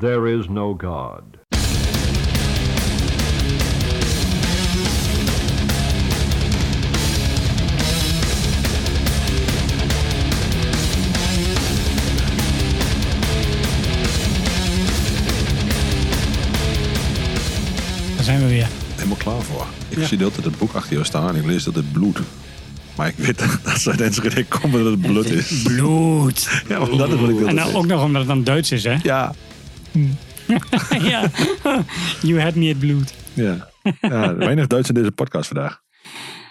There is no God. Daar zijn we weer. helemaal klaar voor. Ik Ja. zie de hele tijd het boek achter jou staan en ik lees dat het bloed. Maar ik weet dat als uit Enschede komen dat het bloed is. Bloed. Ja, want dat is wat ik wilde En nou dan zeggen. ook nog omdat het dan Duits is, hè? Ja, ja. You had me at bloed. ja. ja, weinig Duits in deze podcast vandaag.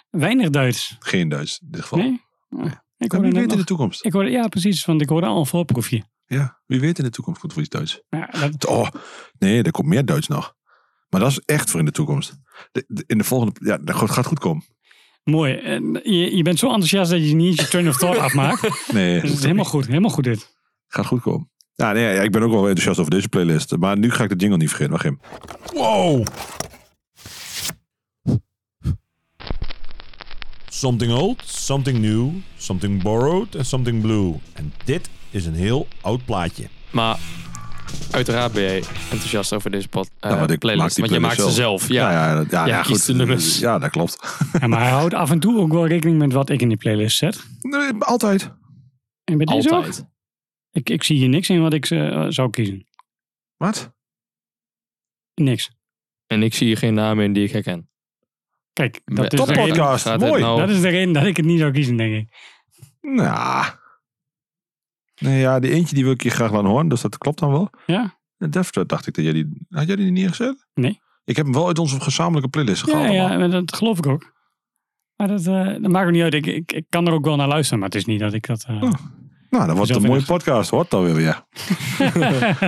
Weinig Duits. Geen Duits in dit geval. Nee? Ik Maar hoorde, wie net weet in de nog, toekomst. ik hoorde Ja, precies. Want ik hoorde al een voorproefje. Ja, wie weet in de toekomst komt er iets Duits. Ja, dat, Oh, nee, er komt meer Duits nog. Maar dat is echt voor in de toekomst. De- de- in de volgende, ja, dat gaat goed komen. mooi. En Je, je bent zo enthousiast dat je niet eens je turn of thought afmaakt. Dus Nee, het is helemaal goed. Helemaal goed dit. gaat goed komen. Ja, nee, ja, ik ben ook wel enthousiast over deze playlist. Maar nu ga ik de jingle niet vergeten. Wacht even. Wow! Something old, something new, something borrowed en something blue. En dit is een heel oud plaatje. Maar uiteraard ben jij enthousiast over deze pod, Ja, eh, want ik maak playlist. die Want je maakt playlist ze zelf. Ja. Ja, ja, dat- ja, Jij ja, kiest goed. de nummers. Ja, dat klopt. Ja, maar hij houdt af en toe ook wel rekening met wat ik in die playlist zet. Nee, altijd. En bij deze ook. Altijd. Ik, ik zie hier niks in wat ik eh, zou kiezen. Wat? Niks. En ik zie hier geen namen in die ik herken. Kijk, dat is, de Toppodcast. reden, Gaat het Mooi. nou- dat is de reden dat ik het niet zou kiezen, denk ik. Nou. Nee, ja, die eentje die wil ik je graag laten horen, dus dat klopt dan wel. Ja. En daarvoor dacht ik dat jij die... Had jij die neergezet? Nee. Ik heb hem wel uit onze gezamenlijke playlist gehaald. Ja, allemaal. ja, maar dat geloof ik ook. Maar dat, eh, dat maakt ook niet uit. Ik, ik, ik kan er ook wel naar luisteren, maar het is niet dat ik dat... eh, Oh. Nou, dan wordt het een mooie Zelfs podcast. Wordt dan weer weer.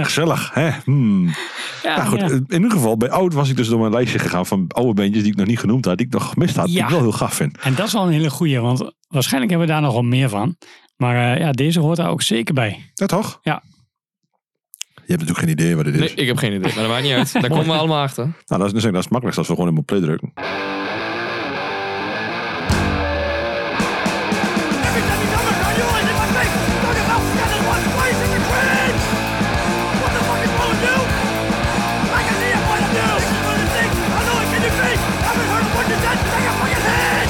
Gezellig, hè? Hmm. ja, nou goed, ja. in ieder geval, bij oud was ik dus door mijn lijstje gegaan van oude bandjes die ik nog niet genoemd had, die ik nog gemist had, die Ja. ik wel heel gaaf vind. En dat is wel een hele goeie, want waarschijnlijk hebben we daar nog wel meer van. Maar eh, ja, deze hoort daar ook zeker bij. Ja, toch? Ja. Je hebt natuurlijk geen idee wat het is. Nee, ik heb geen idee. Maar dat maakt niet uit. Daar komen we allemaal achter. Nou, dat is, dat is het makkelijkst als we gewoon helemaal play drukken. Everything other than you is in my face. Talk about standing one place in the cringe. What the fuck is wrong with you? I can see your point of view. This is one of the things I know it's in your face. I haven't heard of what you said. Take a fucking head.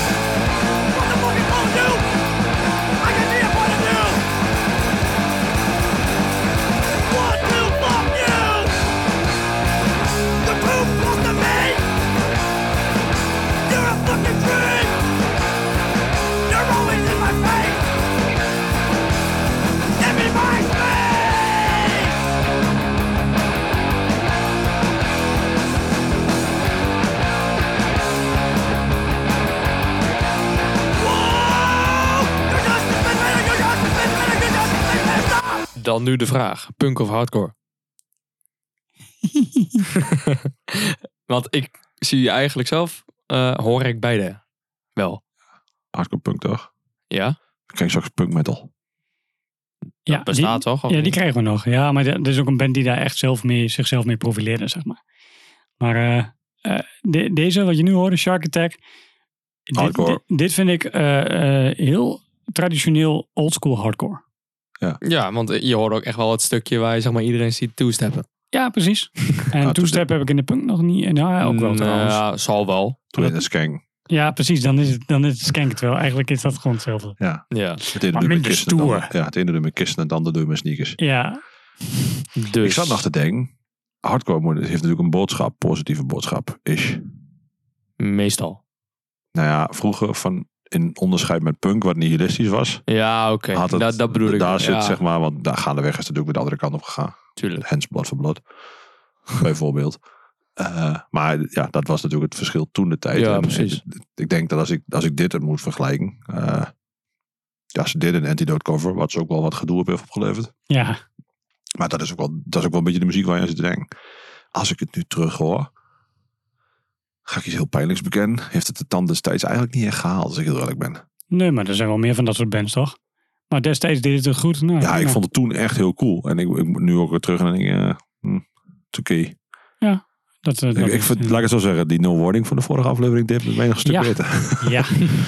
What the fuck is wrong with you? I can see your point of view. What the fuck you? The proof was to me. You're a fucking cringe. You're always in my face! Give me my face! Whoa! You're just a spin spinner, you're just a spin spinner, you're just a spin spinner, stop! Dan nu de vraag. Punk of hardcore? Want ik zie eigenlijk zelf, eh, hoor ik beide wel. Hardcore punk toch? Ja? Ik krijg straks punk metal. Ja, Bestaat toch? die, of ja, die niet? krijgen we nog. Ja, maar dat is ook een band die daar echt zelf mee, zichzelf mee profileerde, zeg maar. Maar eh, eh, de- deze, wat je nu hoorde, Shark Attack. Dit, Hardcore. dit, dit vind ik eh, eh, heel traditioneel oldschool hardcore. Ja, want je hoort ook echt wel het stukje waar je zeg maar, iedereen ziet toestappen. Ja, precies. En toen- toestep heb ik in de punk nog niet. Nou, ja, Mm, ook wel trouwens. Ja, zal wel. Toen in de skank. Ja, precies. Dan is het, dan is het skank. Terwijl eigenlijk is dat gewoon hetzelfde. Ja. Het ene Maar doe je met minder kisten, het stoer. andere- Ja, het ene doe je met kisten en het andere doe je met sneakers. Ja, Dus. Ik zat nog te denken. Hardcore moet- heeft natuurlijk een boodschap, positieve boodschap. Is. Meestal. Nou ja, vroeger van in onderscheid met punk, wat nihilistisch was. Ja, oké. had het- Dat, dat bedoel ik. Daar zit ja, zeg maar, want daar gaandeweg is het natuurlijk de andere kant op gegaan. Tuurlijk. Hens blad voor blad. bijvoorbeeld. Eh, maar ja, dat was natuurlijk het verschil toen de tijd. Ja, En precies. Ik, ik denk dat als ik, als ik dit het moet vergelijken. eh ja, ze deden een antidote cover, wat ze ook wel wat gedoe op heeft opgeleverd. ja. Maar dat is ook wel, dat is ook wel een beetje de muziek waar je aan zit te denken. Als ik het nu terug hoor, ga ik iets heel pijnlijks bekennen. Heeft het de tand destijds eigenlijk niet echt gehaald, als ik heel eerlijk ben. Nee, maar er zijn wel meer van dat soort bands, toch? Maar destijds deed het het goed. Nou, Ja, ik nou, vond het toen echt heel cool. En ik, ik moet nu ook weer terug en denk, eh hm, het is oké. dat, eh, Ik, dat- ik vind, laat ik het zo zeggen, die no wording van de vorige aflevering, dit is mij nog een stuk Ja. beter. ja,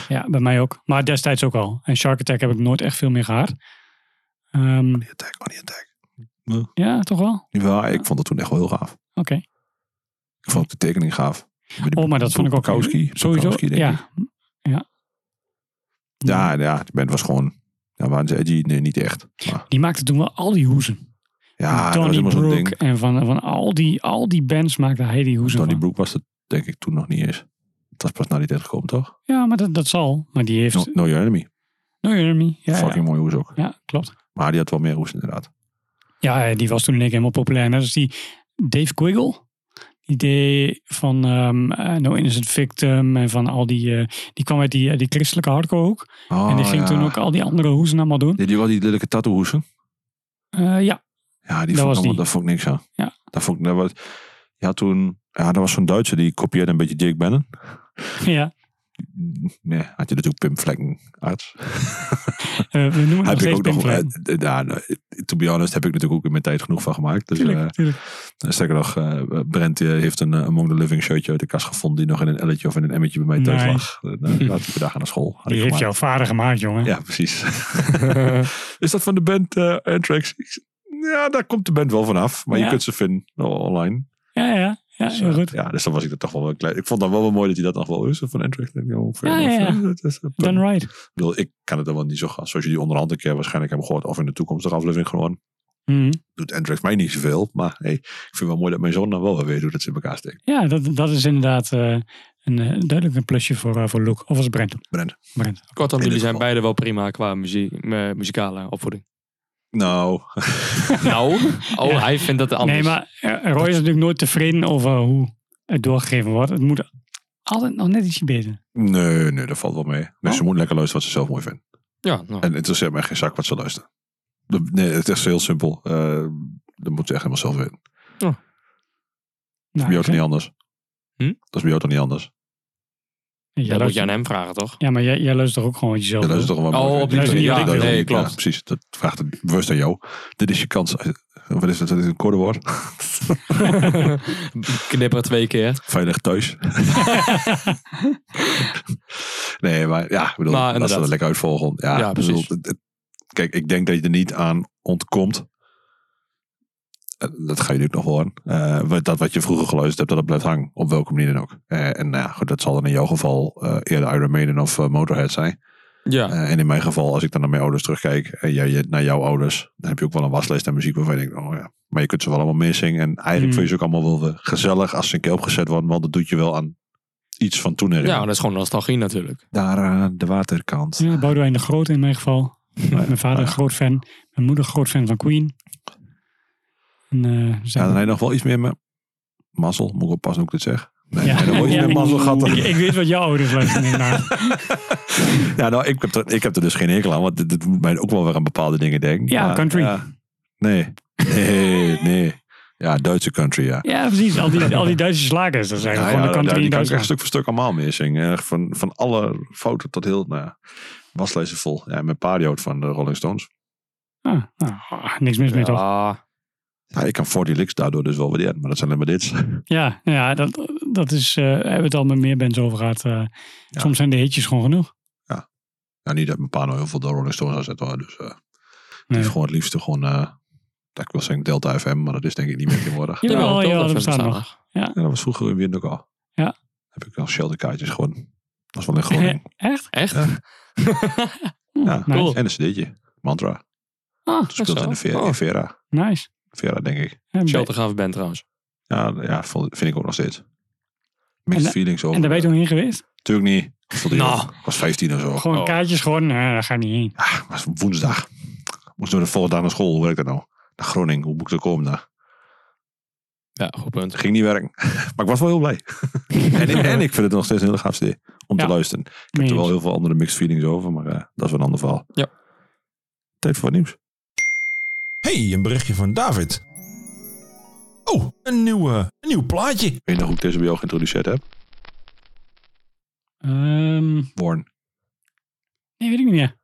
ja, bij mij ook. Maar destijds ook al. En Shark Attack heb ik nooit echt veel meer gehaald. Ehm, Attack, on the attack. Ja. Ja, toch wel? Ja, ik vond dat toen echt wel heel gaaf. Oké. Ik vond ook de tekening gaaf. Met die Oh, maar dat vond ik ook... Bukowski. Sowieso, Bukowski, denk ik. ja. ja. Ja, ja, die band was gewoon... Ja, waren ze edgy? Nee, niet echt. Maar, Die maakte toen wel al die hoezen. ja, dat was Donny helemaal zo'n ding. Brook en van, van al, die, al die bands maakte hij die hoezen Donny van. Brook was dat denk ik toen nog niet eens. Dat was pas na die tijd gekomen, toch? Ja, maar dat, dat zal. Maar die heeft... No, no Your Enemy. No Enemy. Ja, Fucking ja. mooie hoes ook. ja, klopt. Maar die had wel meer hoes inderdaad. Ja, eh, die was toen in één keer helemaal populair. Net als die Dave Quiggle. Die deed van ehm, eh, No Innocent Victim en van al die... eh, die kwam uit die, eh, die christelijke hardcore hoek. Oh, en die ging ja. toen ook al die andere hoezen allemaal doen. Deed die wel die lelijke tattoohoesen? Eh, ja, Ja, Dat was die vond, ik die. allemaal, daar vond ik niks aan. Ja. Daar vond ik... Dat was, ja, toen... Ja, dat was zo'n Duitser die kopieerde een beetje Jake Bannon. ja. Nee, had je natuurlijk Pim Vlekken arts. Eh, we noemen het nog heb ik steeds ook nog. Pinkfloyd. eh, eh, ja, nou, to be honest, heb ik natuurlijk ook in mijn tijd genoeg van gemaakt. Dus, Tuurlijk, eh, tuurlijk. sterker nog, eh, Brent eh, heeft een eh, Among the Living shirtje uit de kast gevonden. die nog in een elletje of in een emmetje bij mij thuis Nice. lag. Eh, nou, laatste dag aan de school. Had ik Die heeft jouw gemaakt. vader gemaakt, jongen. Eh, Ja, precies. Is dat van de band eh, Anthrax? Ik z- Ja, daar komt de band wel vanaf. Maar Ja. je kunt ze vinden eh, online. ja, ja. ja Dus, heel eh, goed. Ja, dus dan was ik er toch wel een klein. Ik vond dan wel wel mooi dat hij dat nog wel is van Anthrax. Ik denk, oh, fair Ja, ja, enough. ja. Dat is, eh, Done right. ik bedoel, ik kan het dan wel niet zo gaan. Zoals jullie onderhand een keer waarschijnlijk hebben gehoord. Of in de toekomstige aflevering gewoon. Mhm. Doet Anthrax mij niet zoveel. Maar hey, ik vind het wel mooi dat mijn zoon dan wel weer weet hoe dat ze in elkaar steekt. Ja, dat, dat is inderdaad eh, een, eh, duidelijk een plusje voor, eh, voor Luke. Of was het Brent? Brent. Brent. Kortom, In jullie dit zijn geval. beide wel prima qua muziek, me- muzikale opvoeding. Nou, nou, oh, Ja. hij vindt dat anders. Nee, maar eh, Roy is natuurlijk nooit tevreden over hoe het doorgegeven wordt. Het moet altijd nog net ietsje beter. nee, nee, dat valt wel mee. Mensen Oh. moeten lekker luisteren wat ze zelf mooi vinden. Ja, nou. En het interesseert mij geen zak wat ze luisteren. De- Nee, het is echt heel simpel. Eh dat moeten ze echt helemaal zelf weten. Nou, Bij jou toch ik- niet anders? Hm? Dat is bij jou toch niet anders? Jij dat moet je luistert- aan hem vragen, toch? ja, maar jij, jij luistert ook gewoon wat je zelf Ja, dat is doet. toch wel Oh, op die manier, ja, dat is nee, niet- klopt. ja, precies, dat vraagt het bewust aan jou. Dit is je kans. Eh, Wat is dat? Dat is een codewoord. Knipper twee keer. Veilig thuis. nee, maar ja, ik bedoel, Maar dat ze inderdaad. dat lekker uitvolgen. Ja, Ja, ik bedoel, precies. het- het- kijk, ik denk dat je er niet aan ontkomt. Eh, Dat ga je natuurlijk nog horen. Eh, wat- dat wat je vroeger geluisterd hebt, dat het blijft hangen. Op welke manier dan ook. Eh, en nou ja, goed, dat zal dan in jouw geval eh, eerder Iron Maiden of eh, Motorhead zijn. Ja, Eh, en in mijn geval, als ik dan naar mijn ouders terugkijk en jij jij- naar jouw ouders, dan heb je ook wel een waslijst aan muziek waarvan je denkt, oh ja. Maar je kunt ze wel allemaal meezingen. En eigenlijk Mm. vind je ze ook allemaal wel weer gezellig als ze een keer opgezet worden, want dat doet je wel aan iets van toen ja herinneren. dat is gewoon nostalgie natuurlijk. Daar aan de waterkant. Ja, Boudewijn de Groot in mijn geval. Mijn vader ja. een groot fan. Mijn moeder groot fan van Queen. En, eh, dus Ja, dan dat- heb je nog wel iets meer met mazzel, moet ik oppassen hoe ik dit zeg. Nee, Ja. dan heb je nog wel iets Ja, meer mazzel gehad. ik, ik weet wat jouw ouders luisteren inderdaad. Ja, nou, ik heb, er, ik heb er dus geen hekel aan, want dit, dit moet mij ook wel weer aan bepaalde dingen denken. Ja, Maar, country. nee, nee, nee. Ja, Duitse country, ja. Ja, precies. Al die, al die Duitse slagers. Dat zijn Ja, gewoon Nou ja, de country ja, in die kan ik echt Duitsland. stuk voor stuk allemaal meer zingen. Echt Van, van alle fouten tot heel, nou ja, waslijsten vol. Ja, en mijn pa die houdt van de Rolling Stones. Ah, nou, ah, niks mis mee toch? Ja, Ja, Nou, ik kan 40 Licks daardoor dus wel waarderen, maar dat zijn alleen maar dit. Ja, ja dat, dat is, eh hebben we het al met meer bands over gehad. eh, Soms zijn de hitjes gewoon genoeg. Nou, niet dat mijn pa nou heel veel de Rolling Stones aan zet, hoor. Dus eh die Nee. is gewoon het liefste gewoon, eh, dat ik wil zeggen Delta FM, maar dat is denk ik niet meer tegenwoordig. Jawel, Jawel, jawel, toch, dat even bestaat bestaan nog. Ja, dat was vroeger in Wien ook al. Ja. Heb ik al shelterkaartjes gewoon. Dat was wel in Groningen. Echt? Echt? Ja. Oh, Ja, nice. En een cd'tje. Mantra. Ah, Dat speelt zo. in de Vera, Oh. in Vera. nice. Vera, denk ik. En, Shelter gave band trouwens. Ja, ja vond- vind ik ook nog steeds. Mixed da- feelings over. en daar ben je toen heen geweest? Natuurlijk niet. Ik vond die Nou. ook- Ik was 15 of zo. Gewoon oh. kaartjes, gewoon, eh daar ga ik niet heen. Ja, het was woensdag. Ik Moest door de volgende dag naar school. Hoe werkt dat nou? Naar Groningen. Hoe moet ik er komen? Nou, Ja, goed punt. het ging niet werken. Maar ik was wel heel blij. en, ik, en ik vind het nog steeds een hele gaaf CD om Ja. te luisteren. Ik heb Mee er wel eens. heel veel andere mixed feelings over. Maar eh, dat is wel een ander verhaal. Ja. Tijd voor wat nieuws. Hey, een berichtje van David. Oh, een nieuw, eh, een nieuw plaatje. Weet je nog hoe ik deze bij jou geïntroduceerd heb? Ehm, Warn. nee, weet ik niet meer.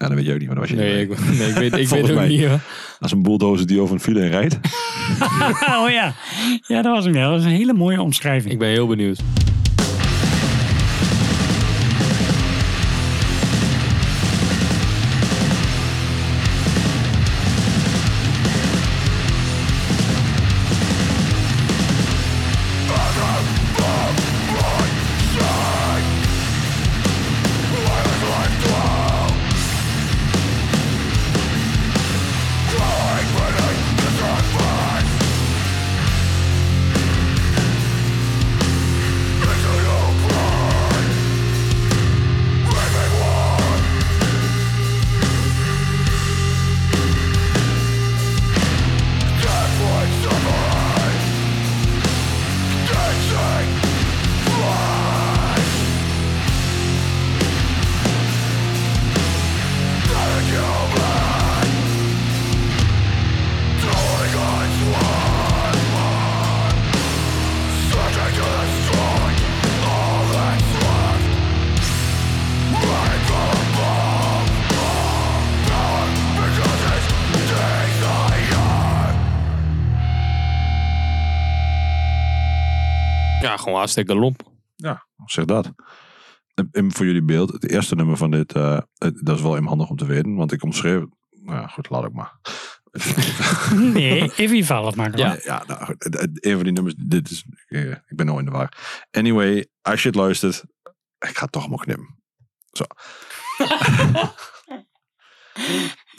Ja, dat weet jij ook niet. Maar dat was je Nee, niet ik, bij. nee, ik weet, ik weet Volgens ook mij. niet. hoor. Als een bulldozer die over een file heen rijdt. oh ja. Ja, dat was hem. Ja. Dat is een hele mooie omschrijving. Ik ben heel benieuwd. Ja, gewoon hartstikke lomp. Zeg dat. En- En voor jullie beeld, het eerste nummer van dit, eh, het- dat is wel even handig om te weten, want ik omschreef. Nou ja, goed, laat ik maar. Nee, even je verhaal afmaken. Ja. hoor. Ja, nou goed, het- het- een van die nummers, dit is, eh, ik ben nooit in de war. Anyway, als je het luistert, ik ga het toch allemaal knippen. Zo. Eh,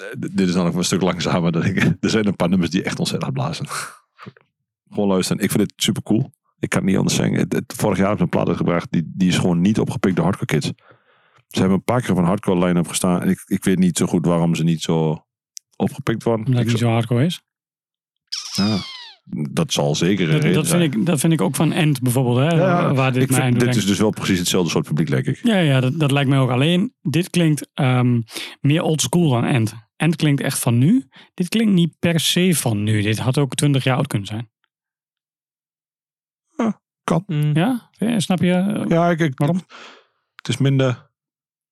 d- dit is dan nog een stuk langzamer. Dan ik, er zijn een paar nummers die echt ontzettend blazen. Goed. Gewoon luisteren. Ik vind dit super cool. Ik kan het niet anders zeggen. Het, het- vorig jaar hebben ze een plaat uitgebracht. Die, die is gewoon niet opgepikt door hardcore kids. Ze hebben een paar keer van hardcore line-up gestaan. En ik, ik weet niet zo goed waarom ze niet zo opgepikt worden. Omdat Ik het niet zo hardcore is. ja. Dat zal zeker een Dat, reden dat, vind zijn. ik, dat vind ik ook van End bijvoorbeeld, hè, Ja, ja. waar dit Ik mij vind- aan doet dit is denken. dus wel precies hetzelfde soort publiek, denk ik. Ja, ja dat, dat lijkt mij ook. Alleen, dit klinkt ehm, meer old school dan End. End klinkt echt van nu. Dit klinkt niet per se van nu. Dit had ook 20 jaar oud kunnen zijn. Mm. Ja? Eh, Snap je? Ja, ik, ik- Waarom? Het is minder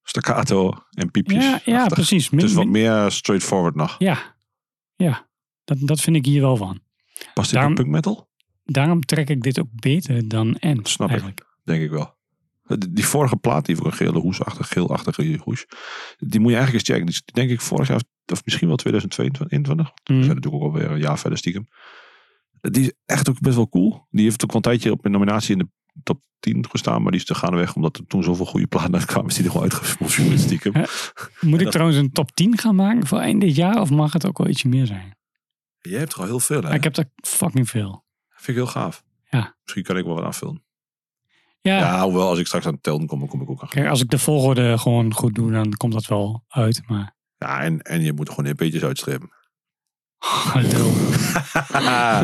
staccato en piepjes. Ja, ja achtig. precies. Min- Het is wat min- meer straightforward nog. Ja, ja. Dat, dat vind ik hier wel van. Past dit Daarom- in punk metal? Daarom trek ik dit ook beter dan End. Snap ik. eigenlijk. Denk ik wel. Die die vorige plaat, die voor een gele hoesachtig, geelachtige hoes. Die moet je eigenlijk eens checken. Die is, denk ik vorig jaar, of- of misschien wel 2022. We Mm. zijn natuurlijk ook alweer een jaar verder stiekem. Die is echt ook best wel cool. Die heeft ook wel een tijdje op een nominatie in de top 10 gestaan. Maar die is te gaandeweg, omdat er toen zoveel goede platen uitkwamen. Is die er gewoon uitgespoeld stiekem. Moet ik dat- trouwens een top 10 gaan maken voor eind dit jaar? Of mag het ook wel ietsje meer zijn? Jij hebt er al heel veel, hè? Ik heb er fucking veel. Vind ik heel gaaf. Ja. Misschien kan ik wel wat aanvullen. Ja, Ja, hoewel, als ik straks aan het tellen kom, dan kom ik ook aan. kijk, als ik de volgorde gewoon goed doe, dan komt dat wel uit. Maar Ja, en, en je moet er gewoon in peetjes uitstrepen. hallo.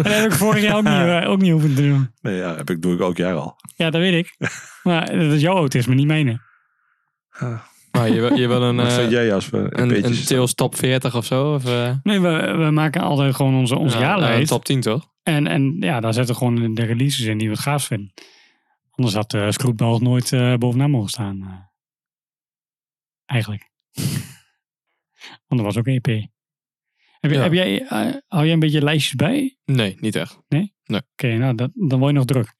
dat heb ik vorig jaar ook niet, eh, ook niet hoeven te doen. nee, ja, heb ik, doe ik elk jaar al. Ja, dat weet ik. Maar dat is jouw autisme, niet mijne. Maar je, wil- je wil een, Wat eh, vind jij, Jasper? In een, peetjes. een Tails top 40 of zo? Of, eh, Nee, we, we maken altijd gewoon onze, onze ja, jaarlijst. een top 10 toch? En, en ja, daar zetten gewoon de releases in die we het gaaf vinden. Anders had eh Scrootball nooit eh, bovenaan mogen staan. eh. eigenlijk. Want er was ook een EP. Heb, je- Ja. heb jij, eh, hou jij een beetje lijstjes bij? Nee, niet echt. Oké, nou, dat, dan word je nog druk.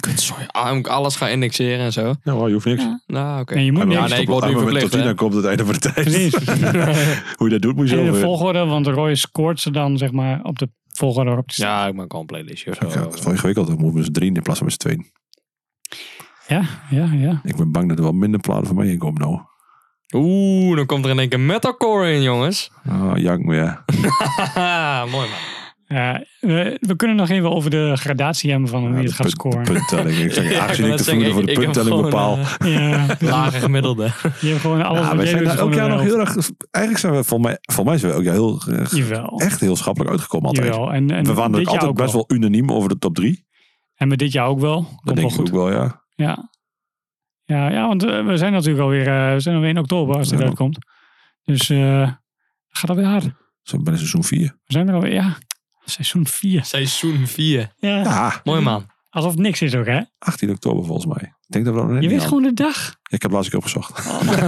Kut, sorry. Ah, dan moet ik alles gaan indexeren en zo. Nou, je hoeft niks. Ja, Nou, oké. Nee, je moet Hij wil niet. Ja, niks nee, ik stoppen. word nu Hij wil met tot verplicht, tien, hè? dan komt het einde van de tijd. Precies. Hoe je dat doet, moet je in de zelf eh. weten. volgorde, want Roy scoort ze dan zeg maar op de volgorde waarop die Ja, ik maak al een playlistje of zo. Ja, dat is wel ingewikkeld. Dan moeten we met z'n drieën in plaats van met z'n tweeën. Ja, ja, ja. Ik ben bang dat er wel minder platen van mij in komen nou. Oeh, dan komt er in één keer metalcore in, jongens. Ah, jank maar ja. Haha, Mooi man. Ja, we, we kunnen nog even over de gradatie hebben van Ja, wie de het gaat punt- scoren. De punttelling. Ik zeg, Ja, ik aangezien wou ik de net voerder zeggen, voor de ik- ik heb punttelling gewoon, bepaal. eh, Ja, dus Lage gemiddelde. je hebt gewoon alles Ja, wat we jij zijn doet daar gewoon ook door jaar de nog helft. heel erg... Eigenlijk zijn we, voor mij, voor mij zijn we ook heel, eh, Jawel. echt heel schappelijk uitgekomen altijd. Jawel. En, en We waren dit ook jaar altijd ook best wel unaniem over de top drie. En met dit jaar ook wel. Komt Dat wel denk ik goed. ook wel, ja. Ja. Ja, ja, want eh, we zijn natuurlijk alweer eh, we zijn alweer in oktober als dit Ja. uitkomt. Dus eh gaat alweer hard. Zo ben ik seizoen vier. We zijn er alweer, ja, seizoen 4. Seizoen 4. Ja. Ja, Mooi man. Mm. Alsof het niks is ook, hè? 18 oktober volgens mij. Ik denk dat we dat Je nog net weet niet aan- gewoon de dag. Ik heb laatst ook opgezocht.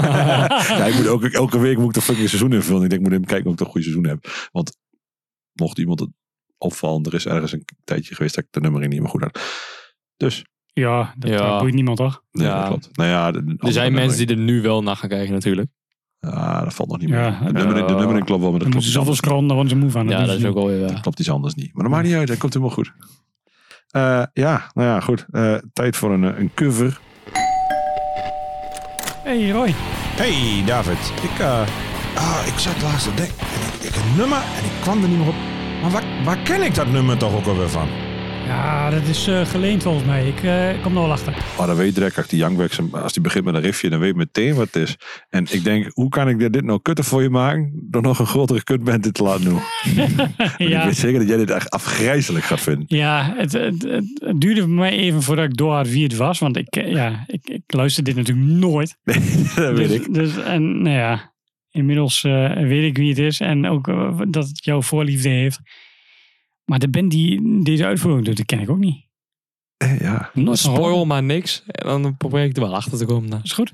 ja, ik moet elke, elke week moet ik de fucking seizoen invullen. Ik denk, ik moet even kijken of ik een goed seizoen heb. Want mocht iemand het opvallen, er is ergens een tijdje geweest dat ik de nummering niet meer goed had. Dus, Ja, dat Ja. eh, boeit niemand, toch? nee, Ja. dat klopt. Nou ja, de- de Er andere zijn mensen nummering- die er nu wel naar gaan kijken natuurlijk. Ah, dat valt nog niet meer. Ja, de, dan nummering, de eh, nummering klopt wel, maar dat moeten klopt ze iets zoveel anders. scrollen, dan worden ze moe van. Ja, doen ze dat is ook eh, niet. alweer Dat waar. klopt iets anders niet. Maar dat maakt niet uit, dat komt helemaal goed. Eh, ja, nou ja, goed. Eh, tijd voor een, eh, een cover. Hey Roy, Hey David, ik, eh, ah, ik zat laatst te denken. En ik, ik een nummer en ik kwam er niet meer op. Maar waar, waar ken ik dat nummer toch ook alweer van? ja, dat is eh, geleend volgens mij. Ik eh, kom er wel achter. Maar dan weet direct, als die Youngbex, als die begint met een riffje, dan weet ik meteen wat het is. En ik denk, hoe kan ik dit nou kutter voor je maken, door nog een grotere kutband dit te laten doen? Want Ik ja, weet zeker dat jij dit echt afgrijzelijk gaat vinden. Ja, het, het, het, het duurde voor mij even voordat ik door had wie het was. Want ik, eh, ja, ik, ik luister dit natuurlijk nooit. dat weet dus, ik. Dus, en nou ja, inmiddels eh, weet ik wie het is. En ook eh, dat het jouw voorliefde heeft. Maar de band die deze uitvoering doet, die ken ik ook niet. Eh, Ja. Nooit van gehoord. Spoil maar niks. En dan probeer ik er wel achter te komen. nou. Is goed.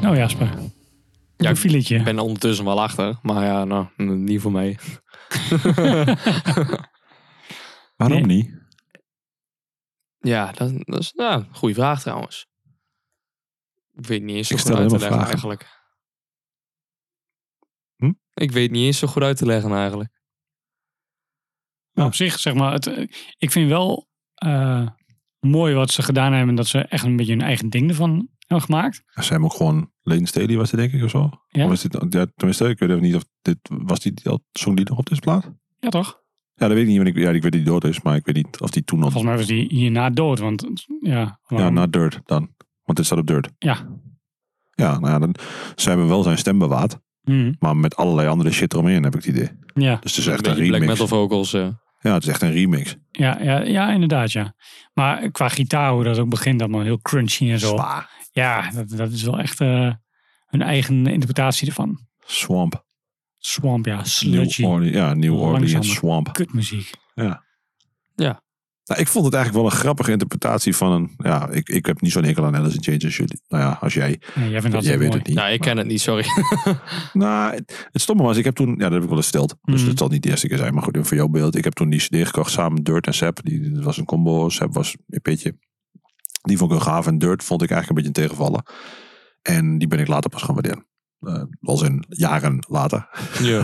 jou, Jasper? Ja, Nou een ik filetje. ben er ondertussen wel achter. Maar ja, nou, n- niet voor mij. Waarom Nee. niet? Ja, dat, dat is nou, een goede vraag trouwens. Ik weet niet eens zo Ik goed stel uit te helemaal leggen vragen. eigenlijk. Hm? Ik weet niet eens zo goed uit te leggen eigenlijk. Maar op zich, zeg maar, het, eh, ik vind wel eh, mooi wat ze gedaan hebben. Dat ze echt een beetje hun eigen ding ervan hebben gemaakt. Ze hebben ook gewoon Lane Staley was dit denk ik of zo. Ja. Of was dit, ja, tenminste, ik weet even niet of dit was die die al zong die nog op deze plaat. Ja, toch? Ja, dat weet ik niet. want Ik, ja, ik weet dat die dood is, maar ik weet niet of die toen nog. Volgens mij was die hierna dood. Want het- ja, Ja, nou- waarom- na Dirt dan. Want dit staat op Dirt. Ja. Ja, nou ja, dan, ze hebben wel zijn stem bewaard, Hm, maar met allerlei andere shit eromheen heb ik het idee. ja, Dus het is echt een Een beetje black remix. metal vocals. eh. Ja, het is echt een remix. ja, ja, ja, inderdaad, ja. Maar qua gitaar, hoe dat ook begint, allemaal heel crunchy en zo. Zwaar. Ja, dat, dat is wel echt eh, hun eigen interpretatie ervan. Swamp. Swamp, ja, New sludgy, Orleans. Ja, New Orleans Langzamer. Swamp. kutmuziek. Nou, ik vond het eigenlijk wel een grappige interpretatie van een... Ja, ik, ik heb niet zo'n hekel aan Alice in Chains als jullie. Nou ja, als jij. Nee, jij vindt dat jij weet mooi. het niet. Nou, ik ken het niet, sorry. Nou, het, het stomme was, ik heb toen, ja, dat heb ik wel eens verteld. Dus Mhm. dat zal niet de eerste keer zijn, maar goed, even voor jouw beeld. Ik heb toen die CD gekocht samen met Dirt en Sep. Die dat was een combo. Sep was een pitje. Die vond ik heel gaaf en Dirt vond ik eigenlijk een beetje een tegenvallen. En die ben ik later pas gaan waarderen. Eh als in jaren later. ja.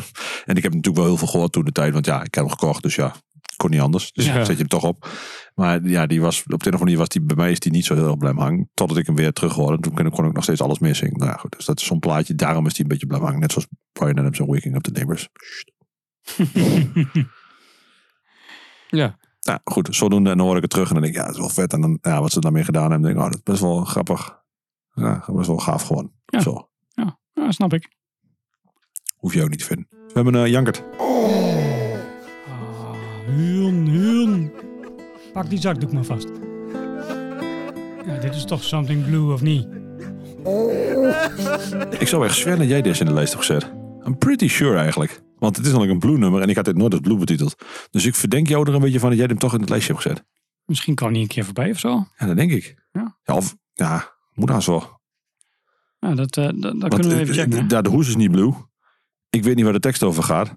En ik heb natuurlijk wel heel veel gehoord toen de tijd. Want ja, ik heb hem gekocht, dus ja, kon niet anders. Dus Ja. zet je hem toch op. Maar ja, die was, op de een of andere manier was die bij mij is die niet zo heel erg blijven hangen. Totdat ik hem weer terug hoorde. En Toen kon ik, kon ik nog steeds alles missing. Nou ja, goed. Dus dat is zo'n plaatje. Daarom is die een beetje blijven hangen. Net zoals Brian Adams en Waking Up the Neighbors. Sst. Ja. Nou goed, zodoende. En dan hoor ik het terug. En dan denk ik, ja, dat is wel vet. En dan, ja, wat ze daarmee gedaan hebben. denk ik, oh, dat is best wel grappig. Ja, dat is best wel gaaf gewoon. Ja. Zo. Ja, snap ik. Hoef je ook niet te vinden. We hebben eh, een Jankert. Huun, huun. Pak die zakdoek maar vast. Ja, dit is toch something blue of niet? Ik zou echt zweren dat jij deze in de lijst hebt gezet. I'm pretty sure eigenlijk. Want het is namelijk een blue nummer en ik had dit nooit als blue betiteld. Dus ik verdenk jou er een beetje van dat jij hem toch in het lijstje hebt gezet. Misschien kwam die een keer voorbij of zo. Ja, dat denk ik. Ja. of, ja, moet haast wel. Nou, dat, eh, dat, dat Want, kunnen we even eh, checken. hè? eh, ja, de hoes is niet blue. Ik weet niet waar de tekst over gaat.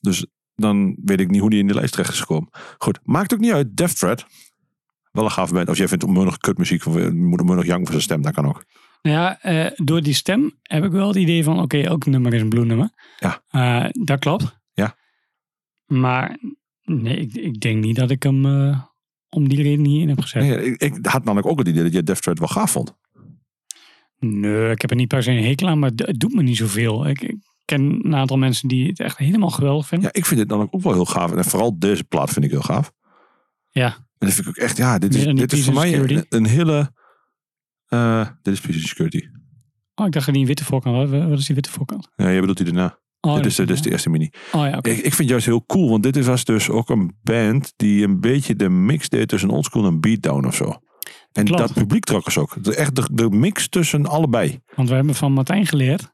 Dus dan weet ik niet hoe die in de lijst terecht is gekomen. Goed, maakt ook niet uit. Death Threat. Wel een gaaf band. Of jij vindt onmunnig kutmuziek. Of eh, moet onmunnig janken voor zijn stem. Dat kan ook. Nou ja, eh, door die stem heb ik wel het idee van... oké, elk nummer is een blue nummer. Ja. Eh, dat klopt. Ja. Maar nee, ik, ik denk niet dat ik hem eh, om die reden hierin heb gezet. Nee. Nee, ik, ik had namelijk ook het idee dat jij Death Threat wel gaaf vond. ik heb er niet per se een hekel aan, maar het- het doet me niet zoveel. Ik, ik ken een aantal mensen die het echt helemaal geweldig vinden. Ja, ik vind dit dan ook wel heel gaaf. En vooral deze plaat vind ik heel gaaf. Ja. En dat vind ik ook echt, ja, dit Meer is, dan die dit is voor Peace mij and een, Security? een hele... eh, dit is Peace and Security. Oh, ik dacht dat die een witte voorkant had. Wat is die witte voorkant? Ja, je bedoelt die daarna. Oh, dit, is, de- dat- dit is de eerste mini. Oh ja, oké. eh, dus Ik, ik vind het juist heel cool, want dit was dus ook een band die een beetje de mix deed tussen oldschool en beatdown of zo. En Klopt. dat publiek trok ons ook. De, echt de, de mix tussen allebei. Want we hebben van Martijn geleerd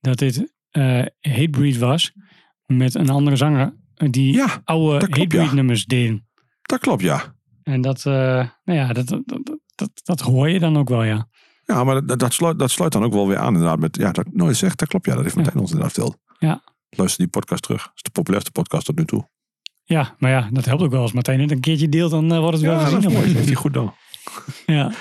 dat dit eh Hatebreed was met een andere zanger die Ja, oude dat klopt, Hatebreed ja. nummers deed. dat klopt, ja. En dat, eh, nou ja, dat, dat, dat, dat, dat hoor je dan ook wel, ja. Ja, maar dat, dat, sluit, dat sluit dan ook wel weer aan inderdaad. Met, ja, dat nooit zegt, dat klopt, ja. Dat heeft Ja. Martijn ons inderdaad verteld. Ja. Luister die podcast terug. Dat is de populairste podcast tot nu toe. Ja, maar ja, dat helpt ook wel. Als Martijn het een keertje deelt, dan eh, wordt het wel Ja, dat gezien. is mooi. Dat heeft allemaal. hij goed dan. Ja,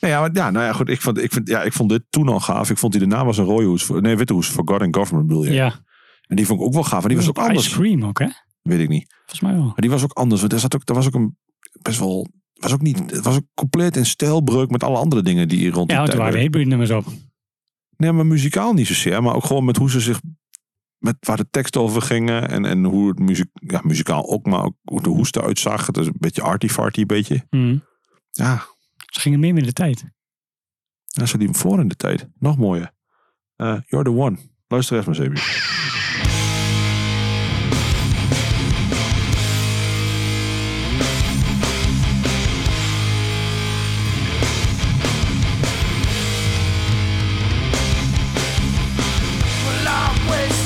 Nee, ja, maar, ja, nou ja, goed. Ik vond, ik, vind, ja, ik vond dit toen al gaaf. Ik vond die daarna was een rode hoes. Voor, nee, witte hoes. For God and Government bedoel je. ja. En die vond ik ook wel gaaf. En die was ook anders. Ice Cream ook, hè? Weet ik niet. Volgens mij wel. Maar die was ook anders. Want er, zat ook, er was ook een best wel... Was ook niet, het was ook compleet in stijlbreuk met alle andere dingen die hier rond Ja, die want er tijd waren werden. Hatebreed nummers op. Nee, maar muzikaal niet zozeer. Maar ook gewoon met hoe ze zich... Met waar de teksten over gingen. En, en hoe het muziek, ja, muzikaal ook. Maar ook hoe de hoes eruit zag. Het is een beetje arty-farty. een beetje. Hm. Ja, Ze gingen meer met de tijd. Ja, ze liepen voor in de tijd. Nog mooier. Eh, You're the one. Luister even, Sebi. Well, I wish,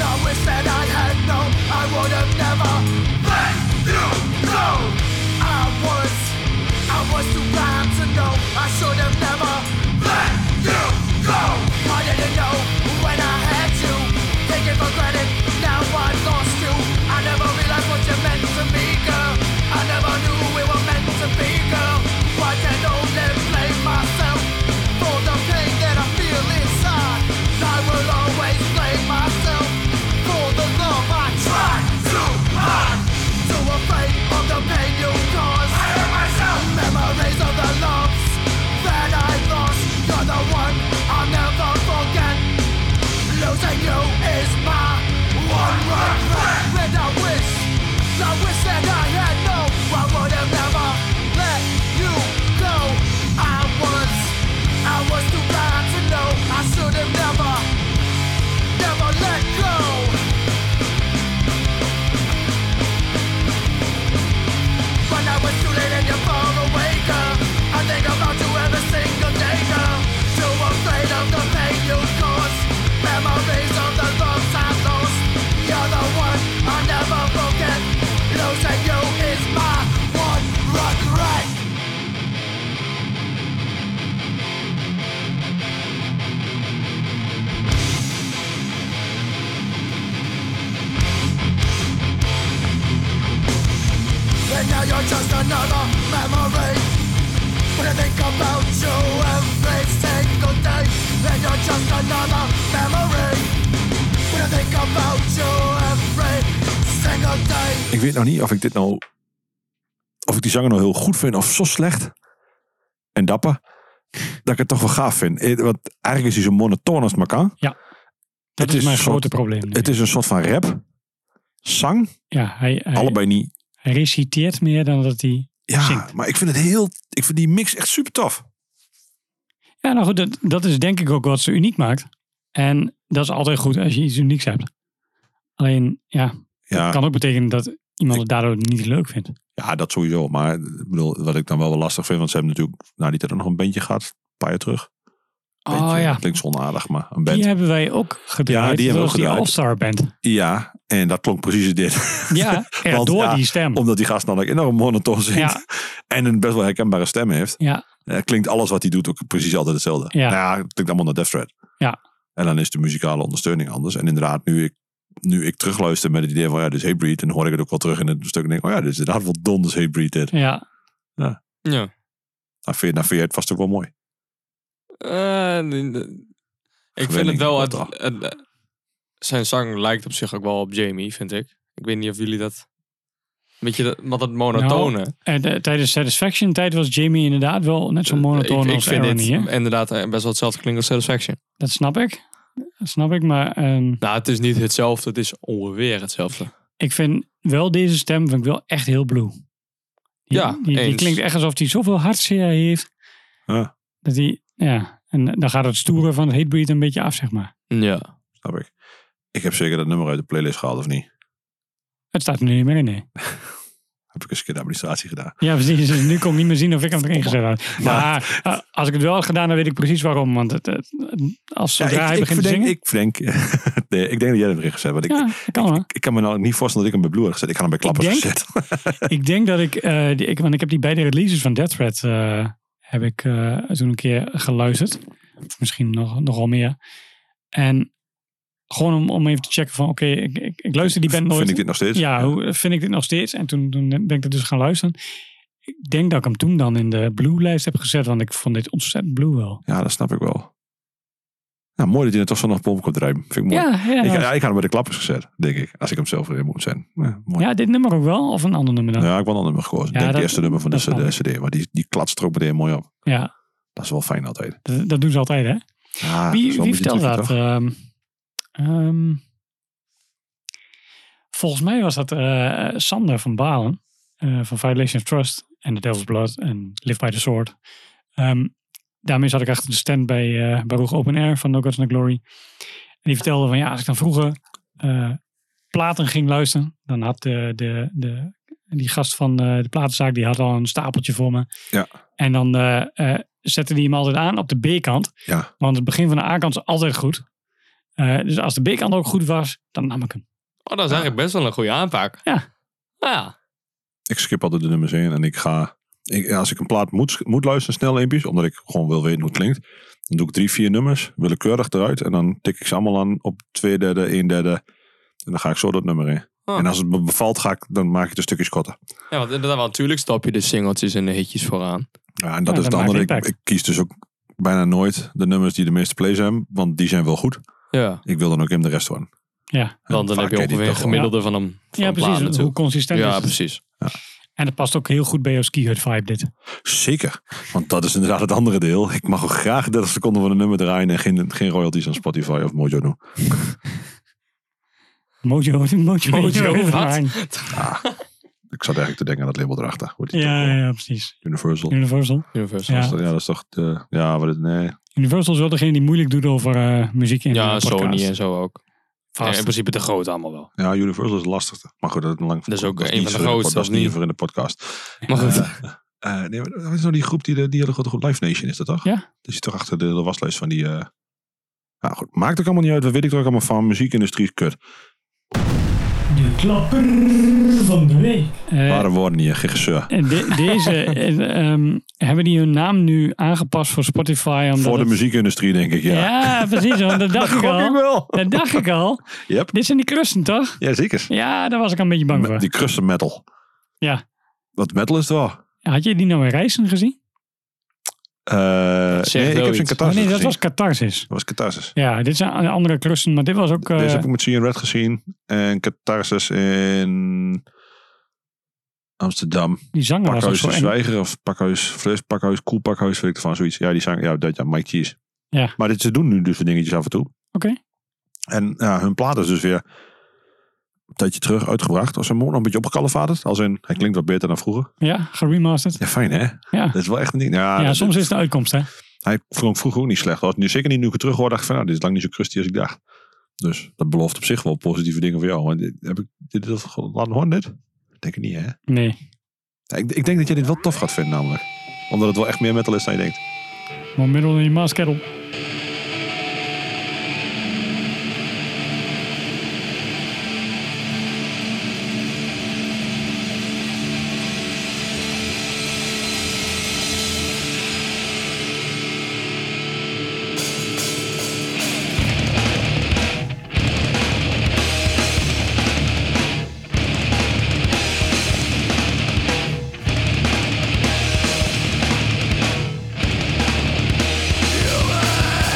I wish that I had known I would have never let you go. I was, I was too blind to know I should have never let you go. and I had no, I would have never let you go. I was, I was too blind to know. I should have never, never let go. But now it's too late and you're far away, girl. I think about you every single day, girl. Too afraid of the pain you caused. Memories of the loves I lost. You're the one I never forget. Losing you is my one regret. And now you're just another memory When I think about you every single day And you're just another memory When I think about you every single day Ik weet nou niet of ik dit nou. Of ik die zanger nou heel goed vind of zo slecht. En dapper. Dat ik het toch wel gaaf vind. Eh, Want eigenlijk is hij zo monotoon als het maar kan. Dat Het is, is mijn een grote soort- probleem. nu. Het is een soort van rap. Zang. ja, hij, hij, Allebei niet. hij reciteert meer dan dat hij Ja, zingt. maar ik vind het heel. Ik vind die mix echt super tof. Ja, nou goed, dat, dat is denk ik ook wat ze uniek maakt. En dat is altijd goed als je iets unieks hebt. Alleen, ja, Ja, kan ook betekenen dat iemand het daardoor niet leuk vindt. ja, dat sowieso. Maar ik bedoel, wat ik dan wel wel lastig vind, want ze hebben natuurlijk nou die tijd ook nog een bandje gehad, een paar jaar terug. Beetje, oh ja, Klinkt onaardig, maar een die band. hebben wij ook gedraaid. Ja, die dat hebben we was ook die All-Star gedraaid. Band. Ja, en dat klonk precies dit. Ja, ja, Want door ja, die stem. Omdat die gast namelijk enorm monotoon zingt. Ja. En een best wel herkenbare stem heeft. Ja, Eh, klinkt alles wat hij doet ook precies altijd hetzelfde. Ja. Nou ja, het klinkt allemaal naar Death Threat. Ja. En dan is de muzikale ondersteuning anders. En inderdaad, nu ik, nu ik terugluister met het idee van ja, dit is Hatebreed. En dan hoor ik het ook wel terug in het stuk. En denk oh ja, dit is inderdaad wel donders Hatebreed dit. ja. Ja. Nou, vind, je- nou, vind je het vast ook wel mooi. Eh, n- n- ik vind het wel... Het, Gewinning, het- eh, zijn zang lijkt op zich ook wel op Jamie, vind ik. Ik weet niet of jullie dat... Weet je, dat, want Nou, dat monotone... En eh, tijdens Satisfaction tijd was Jamie inderdaad wel net zo Eh, monotoon ik, ik als vind Aaron dit hier. inderdaad eh, best wel hetzelfde klinkt als Satisfaction. Dat snap ik. Dat snap ik, maar ehm, Nou, het is niet hetzelfde. Het is ongeveer hetzelfde. ik vind wel deze stem vind ik wel echt heel blue. Die, Ja, die, die eens. klinkt echt alsof hij zoveel hartzeer heeft. Ja. Dat hij, ja. En dan gaat het stoeren van het Hatebreed een beetje af, zeg maar. Ja. Snap ik. Ik heb zeker dat nummer uit de playlist gehaald, of niet? Het staat er nu niet meer in, nee. Heb ik eens een keer de administratie gedaan. Ja, precies. Dus nu kon ik niet meer zien of ik hem erin gezet had. Maar eh, als ik het wel had gedaan, dan weet ik precies waarom. Want het, het- als Ja, zodra hij ik, ik, begint te denk, zingen... ik, denk, nee, ik denk dat jij hem erin gezet hebt. want Ik, ja, dat kan hoor. ik, ik kan me nou niet voorstellen dat ik hem bij Blue heb gezet. Ik had hem bij Ik Klappers denk- gezet. ik denk dat ik, eh, die, ik... Want ik heb die beide releases van Death Threat... eh, heb ik eh, toen een keer geluisterd. Of misschien nog, nogal meer. En gewoon om, om even te checken van... Oké, ik, ik, ik luister die band nooit. Vind ik dit nog steeds? Ja, hoe vind ik dit nog steeds? En toen, toen ben ik er dus gaan luisteren. Ik denk dat ik hem toen dan in de Blue-lijst heb gezet. Want ik vond dit ontzettend Blue wel. Ja, dat snap ik wel. Nou, mooi dat hij er toch zo nog pomp komt rijden. Vind ik mooi. Ja, ja, ik, nou, ja, ik had hem bij de klappers gezet, denk ik. Als ik hem zelf erin moet zijn. Ja, mooi. ja, dit nummer ook wel. Of een ander nummer dan. Ja, Ja. ik heb wel een nummer gekozen. Ja, Ik denk dat- het eerste nummer van de, dat snap CD, CD. Maar die, die klatst er ook meteen mooi op. Dat is wel fijn altijd. dat, dat doen ze altijd, hè? Ja, dat is wel een wie beetje wie vertelde tricky, dat? toch? Ehm, ehm, volgens mij was dat eh, Sander van Balen. eh, van Violation of Trust. En The Devil's Blood. En Live by the Sword. Ehm, daarmee zat ik achter de stand bij, eh bij Roeg Open Air van No Gods No Glory. En die vertelde van ja, als ik dan vroeger eh, platen ging luisteren, dan had de, de, de, die gast van eh, de platenzaak, die had al een stapeltje voor me. Ja. En dan eh, eh, zette die hem altijd aan op de B-kant. Ja. Want het begin van de A-kant is altijd goed. Eh, dus als de B-kant ook goed was, dan nam ik hem. Oh, dat is eigenlijk best wel een goede aanpak. Ja. Ja. Ik skip altijd de nummers in en ik ga... Ik, ja, als ik een plaat moet, moet luisteren, snel eentjes, omdat ik gewoon wil weten hoe het klinkt. Dan doe ik drie, vier nummers, willekeurig eruit. En dan tik ik ze allemaal aan op twee derde, één derde. En dan ga ik zo dat nummer in. Oh. Ah. En als het me bevalt, ga ik, dan maak ik het een stukjes korter. Ja, want inderdaad, want natuurlijk stap je de singeltjes en de hitjes vooraan. Ja, en dat Ja, is het dat andere. maakt Ik, impact. ik kies dus ook bijna nooit de nummers die de meeste plays hebben, want die zijn wel goed. Ja. Ik wil dan ook in de rest van. Ja, Want dan Vaak heb je ken die ongeveer een toch wel. gemiddelde van hem. Van ja een plaat precies. Hoe natuurlijk. consistent is Ja, het. precies. En het past ook heel goed bij jouw ski hut vibe dit. Zeker, want dat is inderdaad het andere deel. Ik mag ook graag 30 seconden van een nummer draaien en geen, geen royalties aan Spotify of Mojo doen. Mojo, mojo, Mojo, wat? Overmars. Ik Ik zat eigenlijk te denken aan dat label erachter. Hoe die Ja, toch, ja, precies. Universal. Universal. Universal. Ja. Ja. dat is toch de... Ja, wat het... Nee. Universal is wel degene die moeilijk doet over eh, muziek in Ja, eh, podcasts. Sony en zo ook. Ja, Vast. in principe de grote allemaal wel. Ja, Universal is het lastigste. Maar goed, dat is een lang... Dat is ook niet een van de voor pod- grootste, Dat is of niet niet? voor in de podcast. Maar goed. Eh, nee, maar dat is nou die groep die, de, die hele grote groep Live Nation is dat toch? Ja. Die zit toch achter de, de waslijst van die... eh, Nou goed, maakt ook allemaal niet uit. Wat weet ik er ook allemaal van? Muziekindustrie is kut. De klapper van de week. Ware woorden hier, gegezeur. Eh, deze, eh, ehm, hebben die hun naam nu aangepast voor Spotify? Omdat Voor de het- muziekindustrie denk ik, ja. Ja, precies. Want dat dacht ik Gok ik al. wel. Dat dacht ik al. Yep. Dit zijn die krusten, toch? Ja, zeker. Ja, daar was ik al een beetje bang voor. Die crusten metal. Ja. Dat metal is het wel. Had je die nou in Reizen gezien? Eh, zegt nee, ik wel heb zijn iets. Oh, catharsis nee, dat gezien. was Catharsis. Dat was catharsis. Ja, dit zijn andere krusten, maar dit was ook... eh, Deze heb ik met Seeing Red gezien. En catharsis in Amsterdam. die zanger was Nou, ook Pakhuis zo de eng. Zwijger of Pakhuis Fles, Pakhuis Koel, Pakhuis, weet ik van zoiets. Ja, die zijn, ja, dat, ja Mike Cheese. Ja. Maar dit, ze doen nu dus de dingetjes af en toe. Oké. En ja, hun plaat is dus weer een tijdje terug uitgebracht. Als een nog een beetje opgekalfaterd. Als in, hij klinkt wat beter dan vroeger. Ja, geremasterd. Ja, fijn hè? Ja. Dat is wel echt een ding. Ja, Ja, dat- soms is de uitkomst, hè? Hij klonk vroeger ook niet slecht. Als nu zeker niet nu ik het terug hoor, dacht ik van nou, dit is lang niet zo crusty als ik dacht. Dus dat belooft op zich wel positieve dingen voor jou. Maar dit- heb ik dit al ge- laten horen dit? Ik denk het niet hè? Nee. Ja, Ik, ik denk dat jij dit wel tof gaat vinden namelijk. Omdat het wel echt meer metal is dan je denkt. Maar middel in je maaskettel. Thank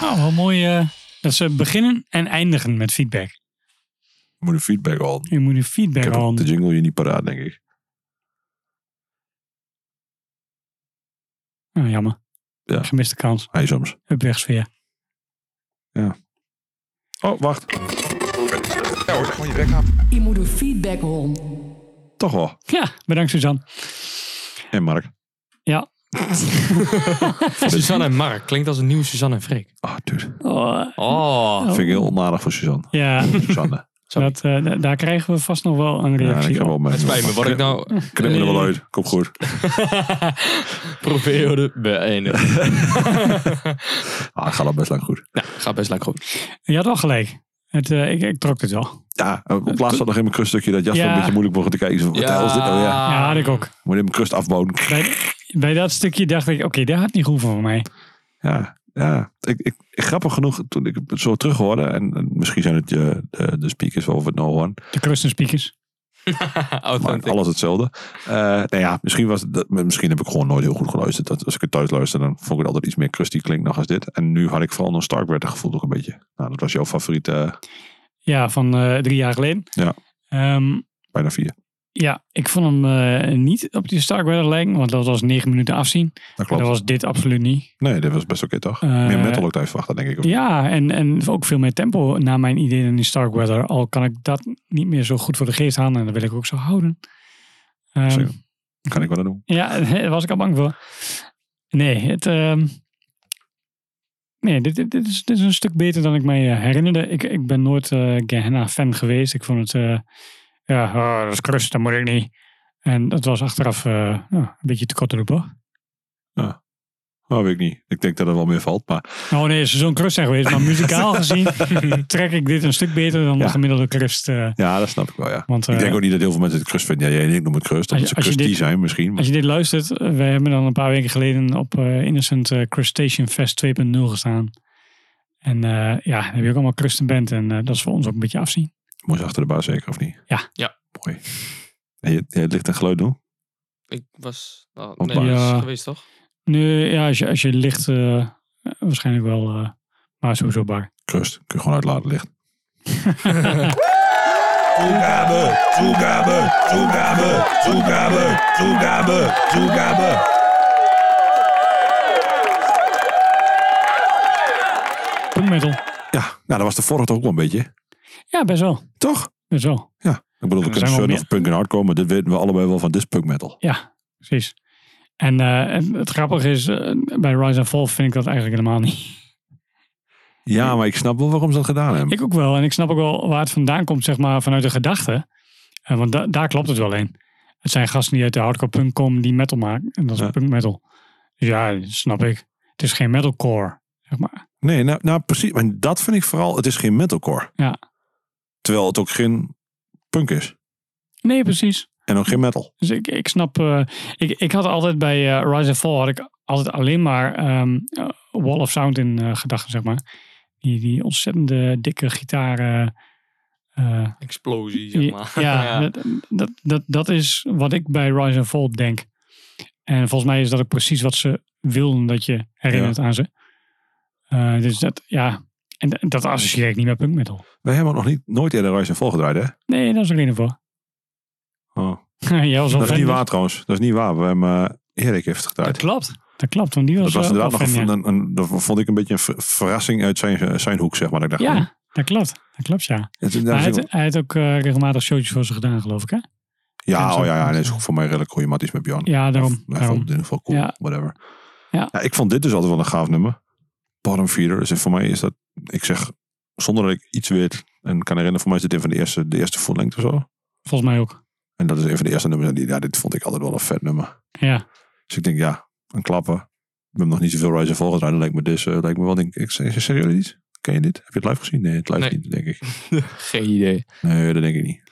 Nou, mooie... eh, Dat ze beginnen en eindigen met feedback. Moet de feedback al. Ik Je moet een feedback heb al. de jingle hier niet paraat, denk ik. Oh, jammer. Ja. Gemiste kans. Hij soms. Up wegsfeer. Oh, wacht. Gewoon je bek af. Je moet een feedback horen. Toch wel. Ja, bedankt Suzanne. En Mark. Ja. Suzanne en Mark klinkt als een nieuwe Suzanne en Freek. Oh, dude. Oh, Oh, Vind ik heel onaardig voor Suzanne. ja, Suzanne. dat, eh, da- daar krijgen we vast nog wel een Ja, reactie ik heb op. wel het spijt me. Wat ik nou Knip me er wel uit. Kom goed. probeerde beëindigen. Ah, het gaat al best lang goed. Nou, gaat best lekker goed. Je had wel gelijk. Het, eh, ik, ik trok het wel. Ja, op laatst had nog in mijn kusstukje dat Jasper Ja. een beetje moeilijk mocht te kijken. Ik zei, Wat de hel is dit nou? Ja. ja, had ik ook. Moet je mijn kust afbouwen. Bij, bij dat stukje dacht ik, oké, daar had niet gehoeven voor mij. Ja, ja. Ik, ik, ik- grappig genoeg, toen ik het zo terug hoorde, en, en misschien zijn het je, de, de speakers of het nou hoorn, De Crusten Speakers. maar Authentiek. alles hetzelfde. Eh nou ja, misschien, was het dat, misschien heb ik gewoon nooit heel goed geluisterd. Dat, als ik het thuis luister, dan vond ik het altijd iets meer crusty klinkt nog als dit. En nu had ik vooral een Starkwetter gevoel toch een beetje. Nou, dat was jouw favoriet, eh, Ja, van eh, drie jaar geleden. Ja. Ehm, bijna vier. ja, ik vond hem eh, niet op die Starkweather lijken, want dat was negen minuten afzien. Dat klopt. Dat was dit absoluut niet. Nee, dit was best oké toch? Eh, meer metal ook thuis verwacht, denk ik. Of- Ja, en, en ook veel meer tempo naar mijn idee dan in Starkweather. Al kan ik dat niet meer zo goed voor de geest halen en dat wil ik ook zo houden. Ehm, Zeker. Kan ik wel aan doen. ja, daar was ik al bang voor. Nee, het, ehm, nee dit, dit, dit is, dit is een stuk beter dan ik mij eh, herinnerde. Ik, ik ben nooit eh Gehenna-fan geweest. Ik vond het, eh, ja, oh, dat is krust, dat moet ik niet. En dat was achteraf eh, ja, een beetje te kort te roepen. Oh, weet ik niet. Ik denk dat er wel meer valt, maar Oh nee, is zo'n krust zijn geweest. Maar muzikaal gezien trek ik dit een stuk beter dan Ja. de gemiddelde krust. eh, ja, dat snap ik wel, ja. want eh, ik denk ook niet dat heel veel mensen het crust vinden. Ja, jij en ik noem het crust. Als je- Omdat ze als je crusty dit- zijn misschien. Maar als je dit luistert, eh, wij hebben dan een paar weken geleden op eh, Innocent eh, Crustacean Fest 2.0 gestaan. En eh, ja, dan heb je ook allemaal crust in band en eh, dat is voor ons ook een beetje afzien. moest achter de baas zeker, of niet? Ja. Ja. Mooi. En je, je licht en geluid doen? Ik was... Oh, Op nee, dat baas. is geweest toch? Nu, ja, als je, als je ligt, eh, eh, waarschijnlijk wel, eh, maar sowieso bar. Crust. Kun je gewoon uitladen licht. Toegabe, toegabe, toegabe, toegabe, toegabe, toegabe. Punk metal. Ja, nou dat was de vorige toch ook wel een beetje. Ja, best wel. Toch? Best wel. Ik bedoel, we Er kunnen zijn wel zo meer. nog punk en hardcore, maar dit weten we allebei wel van dit is punk metal. Ja, precies. En eh, en het grappige is, eh, bij Rise and Fall vind ik dat eigenlijk helemaal niet. Ja, maar ik snap wel waarom ze dat gedaan hebben. Ik ook wel. En ik snap ook wel waar het vandaan komt, zeg maar, vanuit de gedachte. Eh, want da- daar klopt het wel in. Het zijn gasten die uit de hardcore punk komen die metal maken. En dat is Ja. punk metal. Dus ja, dat snap ik. Het is geen metalcore, zeg maar. Nee, nou, nou precies. En dat vind ik vooral, het is geen metalcore. Ja. Terwijl het ook geen punk is. Nee, precies. En ook geen metal. Dus ik, ik snap... eh, ik, ik had altijd bij eh, Rise and Fall had ik altijd alleen maar ehm, eh, Wall of Sound in eh, gedachten, zeg maar. Die, die ontzettende dikke gitaren... eh, Explosie, zeg maar. Ja, Dat, dat, dat, dat is wat ik bij Rise and Fall denk. En volgens mij is dat ook precies wat ze wilden dat je herinnert aan ze. Eh, dus dat, ja. En d- dat associeer ik niet met punk metal. Wij hebben nog niet, nooit eerder Rise and Fall gedraaid, hè? Nee, dat is er geen voor. Oh. Jij was al Dat is fan, niet dus- waar trouwens. Dat is niet waar. We hebben, eh, Erik heeft het gedraaid. Dat klopt. Dat klopt, want die was, Dat was eh, inderdaad nog wel fan, een, ja. een, een- dat vond ik een beetje een ver- verrassing uit zijn, zijn hoek, zeg maar. Dat ik dacht, hmm. Ja, dat klopt. Dat klopt, ja. het is- Maar hij, daar zit- had- hij had ook eh, regelmatig showtjes voor ze gedaan, geloof ik, hè? ja, oh ja, ja, dat is ook voor mij redelijk goeiematisch met Bjorn. Ja, daarom. Hij vond het in daarom. ieder geval cool, Ja. whatever. Ja. ik vond dit dus altijd wel een gaaf nummer. Bottom feeder. Dus voor mij is dat, ik zeg, zonder dat ik iets weet en kan herinneren, voor mij is dit een van de eerste, de eerste full length of zo. Volgens mij ook. En dat is een van de eerste nummers. en die- Ja, dit vond ik altijd wel een vet nummer. Ja. Dus ik denk, ja, een klappen. Ik heb nog niet zoveel Rise and Fall gedaan. Dat lijkt me, dus, eh, lijkt me wel, denk ik, ik, zeg, serieus iets? Ken je dit? Heb je het live gezien? Nee, het live Nee. niet, denk ik. Geen idee. Nee, dat denk ik niet.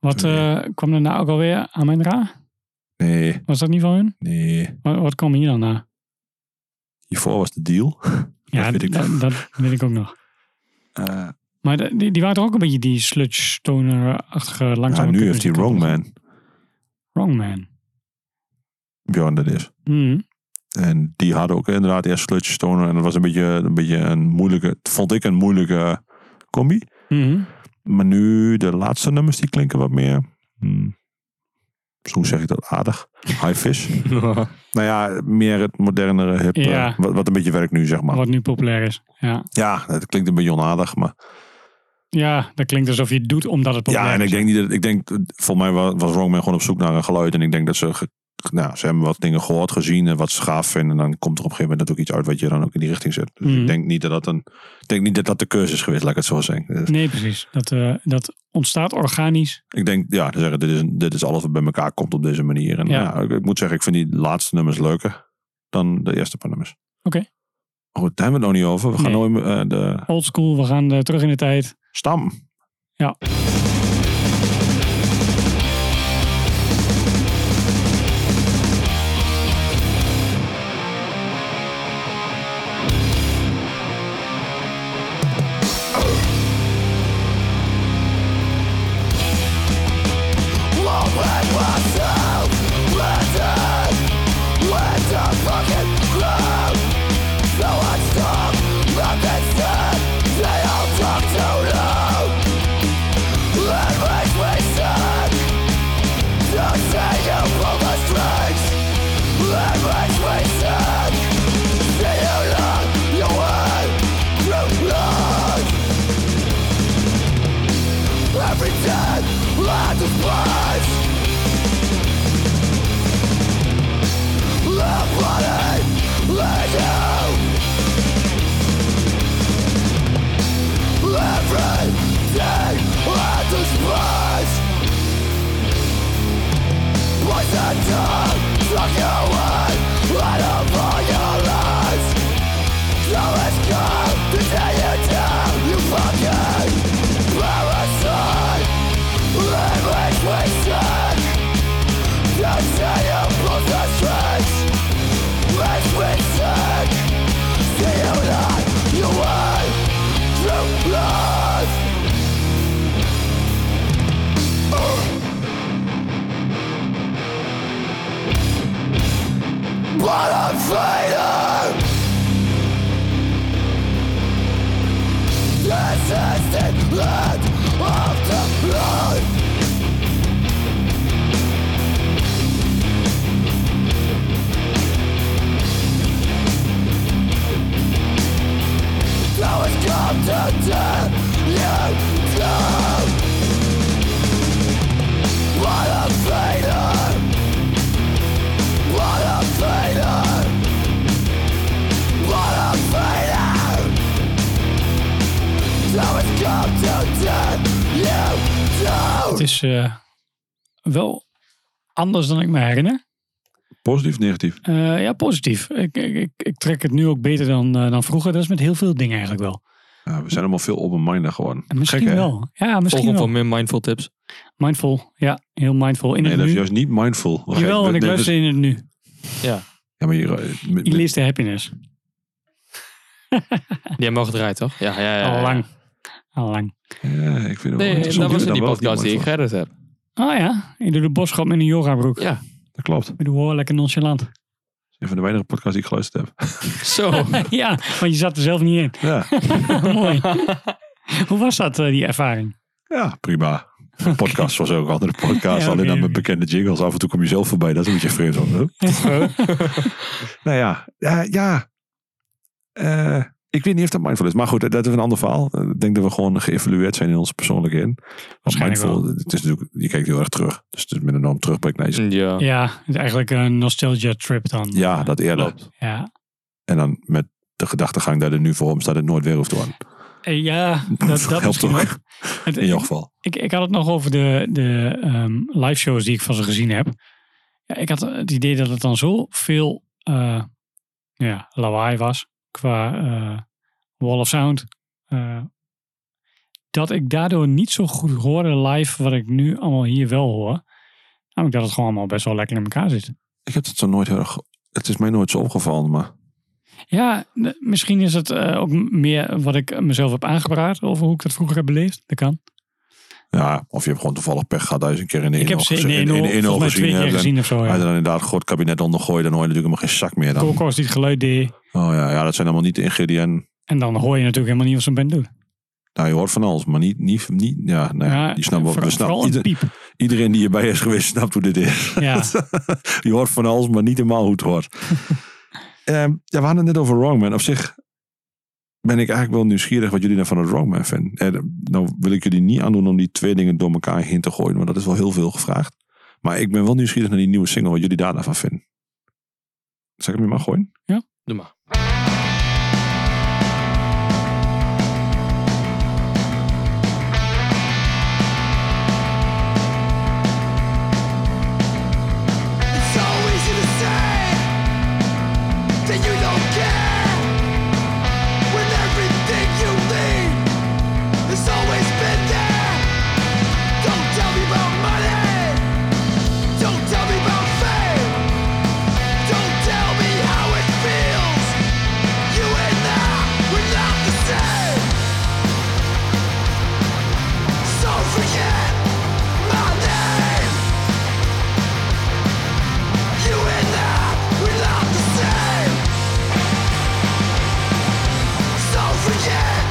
Wat eh, kwam er nou ook alweer aan mijn ra? Nee, Was dat niet van hun? nee. Wat, wat kwam hier dan na? Hiervoor was de deal. Ja, dat Dat weet ik weet, nog. dat, weet ik ook nog. Eh, Maar de- die, die waren toch ook een beetje die sludge stoner-achtige ja, langzame... nu heeft hij Wrong Man. Wrongman. Mhm. Bjorn, dat is. En die hadden ook inderdaad eerst Sludge Stoner. En dat was een beetje een, beetje een moeilijke, vond ik een moeilijke combi. Mhm. Maar nu, de laatste nummers die klinken wat meer. hmm, hoe zeg ik dat aardig? High fish. nou ja, meer het modernere hip. Ja. eh, wat, wat een beetje werkt nu, zeg maar. Wat nu populair is. Ja. Ja, het klinkt een beetje onaardig. Maar ja, dat klinkt alsof je het doet omdat het populair ja, en ik is. denk niet dat. Ik denk, volgens mij wa- was Wrongman gewoon op zoek naar een geluid. En ik denk dat ze. ge- nou, ze hebben wat dingen gehoord, gezien en wat ze gaaf vinden. En dan komt er op een gegeven moment ook iets uit wat je dan ook in die richting zet. Dus Mhm. ik denk niet dat dat een. Ik denk niet dat dat de keuze is geweest, laat ik het zo zeggen. Dus Nee, precies. Dat, eh, dat ontstaat organisch. Ik denk, ja, te zeggen, dit is, dit is alles wat bij elkaar komt op deze manier. En Ja. ja, ik, ik moet zeggen, ik vind die laatste nummers leuker dan de eerste paar nummers. Oké. Maar Goed, daar hebben we het nog niet over. We gaan Nee. nooit eh, de Old school, we gaan eh, terug in de tijd. stam. Ja. Het is eh, wel anders dan ik me herinner. Positief, negatief. Eh, ja, positief. Ik, ik, ik, ik trek het nu ook beter dan, eh, dan vroeger. Dat is met heel veel dingen eigenlijk wel. Ja, we zijn allemaal veel open-minded gewoon. En misschien Gek, hè? wel. Ja, misschien Volgende wel. van meer mindful tips. Mindful. Ja, heel mindful. In Nee, het dat is nu. juist niet mindful. We gaan- Jawel, we- want ik nee, dus- luister in het nu. Ja, Ja, maar hier, eh, met- Je dus. leest de happiness. die hebben we al gedraaid, toch? Ja, ja, ja. Al ja. lang. Al lang. Ja, ik vind het wel Nee, interessant. dat was in Dan die wel podcast die ik mindful. geëdit heb. Oh ja, je doet de boodschap met een yoga-broek. Ja. Dat klopt. Ik doe hoor, lekker nonchalant. Een van de weinige podcasts die ik geluisterd heb. Zo. ja, want je zat er zelf niet in. Ja, Mooi. Hoe was dat, eh, die ervaring? ja prima. Een podcast was ook een andere podcast. Ja, alleen oké, dan met oké. bekende jingles. Af en toe kom je zelf voorbij. Dat is een beetje vreemd. hoor. Huh? nou ja, ja. ja. Eh, ik weet niet of dat mindful is. Maar goed, dat is een ander verhaal. Eh, Ik denk dat we gewoon geëvalueerd zijn in ons persoonlijke in. Want Waarschijnlijk mindful, het is natuurlijk, je kijkt heel erg terug. Dus het is met een enorm terugblik naar je- ja. Ja, het is eigenlijk een nostalgia-trip dan. Ja, dat eerder. Ja, En dan met de gedachtegang dat er nu voor hem staat het nooit weer hoeft te worden. Eh, ja dat, dat Helpt misschien ook. ook. Het- In jouw geval. ik, ik had het nog over de, de ehm, live shows die ik van ze gezien heb. Ja, ik had het idee dat het dan zoveel eh ja, lawaai was qua eh, wall of sound. eh, dat ik daardoor niet zo goed hoorde live wat ik nu allemaal hier wel hoor. Namelijk dat het gewoon allemaal best wel lekker in elkaar zit. Ik heb het zo nooit heel erg. Het is mij nooit zo opgevallen, maar. Ja, n- misschien is het eh, ook m- meer wat ik mezelf heb aangepraat over hoe ik dat vroeger heb beleefd. Dat kan. Ja, of je hebt gewoon toevallig pech gehad dat je eens een keer in de Ik inhul heb ze in de gezien- in- in de inhul inhul volgens mij gezien twee keer hebt. gezien of zo. Als je Ja. dan inderdaad goed kabinet ondergooit, dan hoor je natuurlijk helemaal geen zak meer. Dan. Oh Koolkoos die het geluid deed. ja, ja, dat zijn allemaal niet de ingrediënten. En dan hoor je natuurlijk helemaal niet wat zo'n band doet. Nou, je hoort van alles, maar niet, niet, niet ja, nee, Ja, je snapt wel. voor- we snappen- vooral een ieder- piep. iedereen die erbij is geweest, snapt hoe dit is. Ja, je hoort van alles, maar niet helemaal hoe het hoort. Ehm, ja, we hadden het net over Wrongman. Op zich ben ik eigenlijk wel nieuwsgierig wat jullie daarvan het Wrongman vinden. En nou wil ik jullie niet aandoen om die twee dingen door elkaar heen te gooien, want dat is wel heel veel gevraagd. Maar ik ben wel nieuwsgierig naar die nieuwe single, wat jullie daar nou van vinden. Zal ik hem in mag gooien? Doe maar. It's so easy to say that you don't care when everything you need has always been there. Don't tell me about money. Don't tell me about fame. Don't tell me how it feels. You and I, we're not the same. So forget my name. You and I, we're not the same. So forget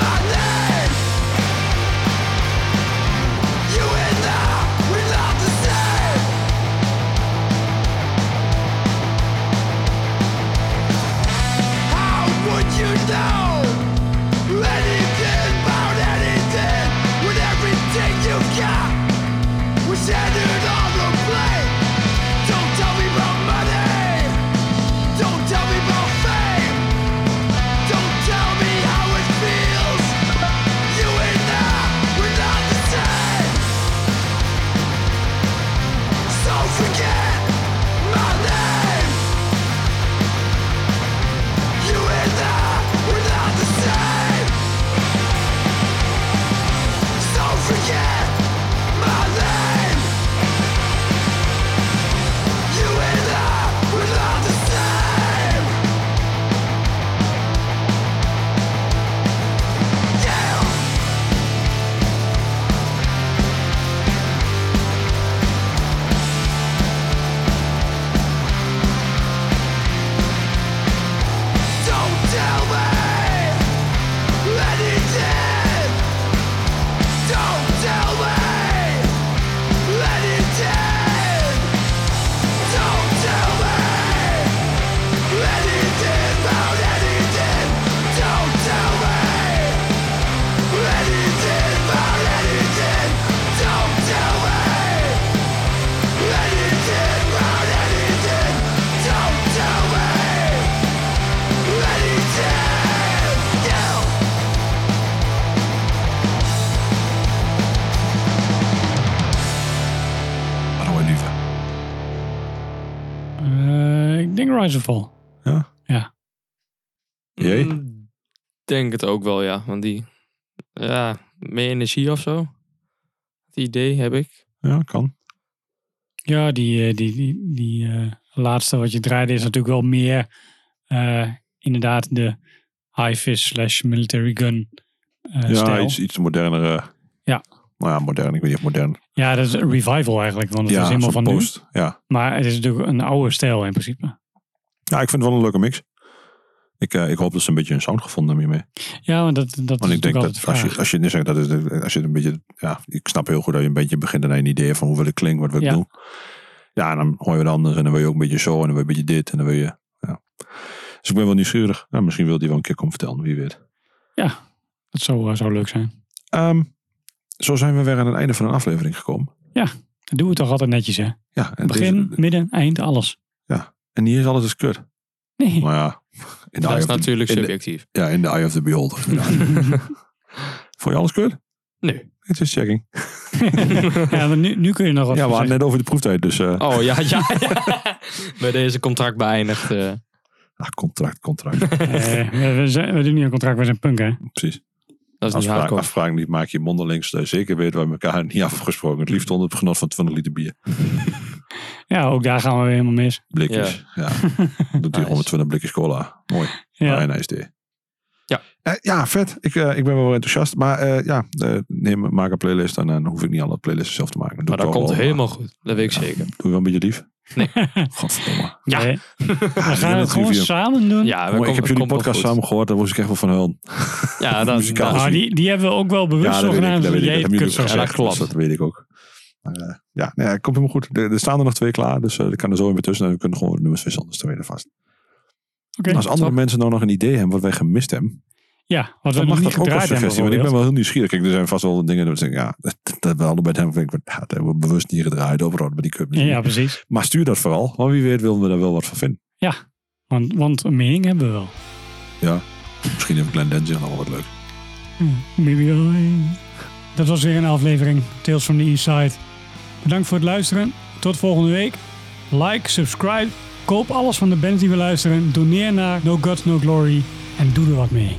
my name. You and I, we're not the same. How would you know anything about anything when everything you've got was centered on the plate? Don't tell me about money. Don't tell me about fame. Don't tell me how it feels. You and I, we're not the same. So forget my name. You and I, we're not the same. So forget my name. You and I, we're not the same. Yeah. Don't tell me anything. Don't tell me anything. Don't tell me anything about anything. Don't tell me anything about anything. Don't tell me anything about anything. Don't tell me anything. Yeah. Oh, lieve. Eh, ik denk Rise and Fall. Jij? Mm, Denk het ook wel, ja. Want die... Ja, meer energie of zo. Het idee heb ik. Ja, kan. Ja, die, eh, die, die, die eh, laatste wat je draaide is natuurlijk wel meer eh, inderdaad de high vis slash military gun eh, ja, stijl. iets, iets modernere. Ja. Nou ja, modern. Ik weet niet of modern. Ja, dat is een revival eigenlijk, want het ja, is helemaal van zo'n nu. post. Ja. Maar het is natuurlijk een oude stijl in principe. Ja, ik vind het wel een leuke mix. Ik, eh, ik hoop dat ze een beetje een sound gevonden hebben hiermee. Ja, want dat, dat is Want ik natuurlijk denk altijd de dat als vraag. je, als je nu zegt dat is de- als je het een beetje, ja, ik snap heel goed dat je een beetje begint aan een idee van hoe wil ik klinken, wat wil ik Ja. doen. Ja, en dan hoor je wat anders en dan wil je ook een beetje zo en dan wil je een beetje dit en dan wil je, ja. Dus ik ben wel nieuwsgierig. Nou, misschien wil die wel een keer komen vertellen, wie weet. Dat zou, eh, zou leuk zijn. Ehm, zo zijn we weer aan het einde van een aflevering gekomen. Dat doen we toch altijd netjes, hè? Ja, en, Begin, deze- midden, eind, alles. en hier is alles eens kut. Nee. Maar ja, in de, Dat eye is of the- natuurlijk Nou, in de- subjectief. ja, in de eye of the beholder. Vond je alles kut? Nee. Het is checking. ja, maar nu, nu kun je nog wat Ja, we hadden zeggen. net over de proeftijd, dus... eh, Oh, ja, ja, ja. Bij deze contract beëindigd. eh. Ah, contract, contract. Eh, we- we, zijn- we doen niet een contract, we zijn punk, hè? Precies. dat is niet Afspraak, hardcore. afspraak niet maak je mondelings. Dat je zeker weet waar we elkaar niet afgesproken. Het liefst onder het genot van 20 liter bier. Ja, ook daar gaan we weer helemaal mis. Blikjes. Ja. Doet hij 120 blikjes cola. Mooi. Ja. Very nice day. Ja. Eh, ja, vet. Ik, eh, ik ben wel enthousiast. Maar eh, ja, eh, neem, maak een playlist en eh, dan hoef ik niet alle playlists zelf te maken. Maar dat komt het helemaal goed. Dat weet ik zeker. Doe je wel een beetje lief? Nee. Godverdomme. Ja. Nee. We gaan het het gewoon review. samen doen. Ja, Mooi, ik heb jullie komt wel podcast goed. samen gehoord. Daar was ik echt wel van huilen. Ja, dat, muzikaal dat- Ah, die, die hebben we ook wel bewust Ja, zo dat weet ik. gedaan. Dat, weet ik. Jij dat het hebben jullie kunt zo ook zeggen. gezegd. gezegd. Ja, dat klopt. Dus dat weet ik ook. Maar, eh, ja, nou ja, het komt helemaal goed. Er, er staan er nog twee klaar. Dus eh er kan er zo in weer tussen. En we kunnen gewoon nummers wisselen. Dus dan weten we vast. Oké. Als andere mensen nou nog een idee hebben wat wij gemist hebben. Ja, wat we Dan nog niet mag dat ook als gedraaid hebben. suggestie. Want ik ben bijvoorbeeld. wel heel nieuwsgierig. Kijk, er zijn vast wel dingen. Dat, ik denk, ja, dat, dat we allebei bij hem. denk ik, ja, dat hebben we bewust niet gedraaid. Overal bij die cup. Ja, ja, precies. Maar stuur dat vooral. Want wie weet willen we daar wel wat van vinden. Ja, want, want een mening hebben we wel. Ja. Misschien heeft Glenn Denzig nog wel wat leuk. Maybe I- Dat was weer een aflevering Tales from the East Side. Bedankt voor het luisteren. Tot volgende week. Like, subscribe. Koop alles van de bands die we luisteren. Doneer naar No God, No Glory. En doe er wat mee.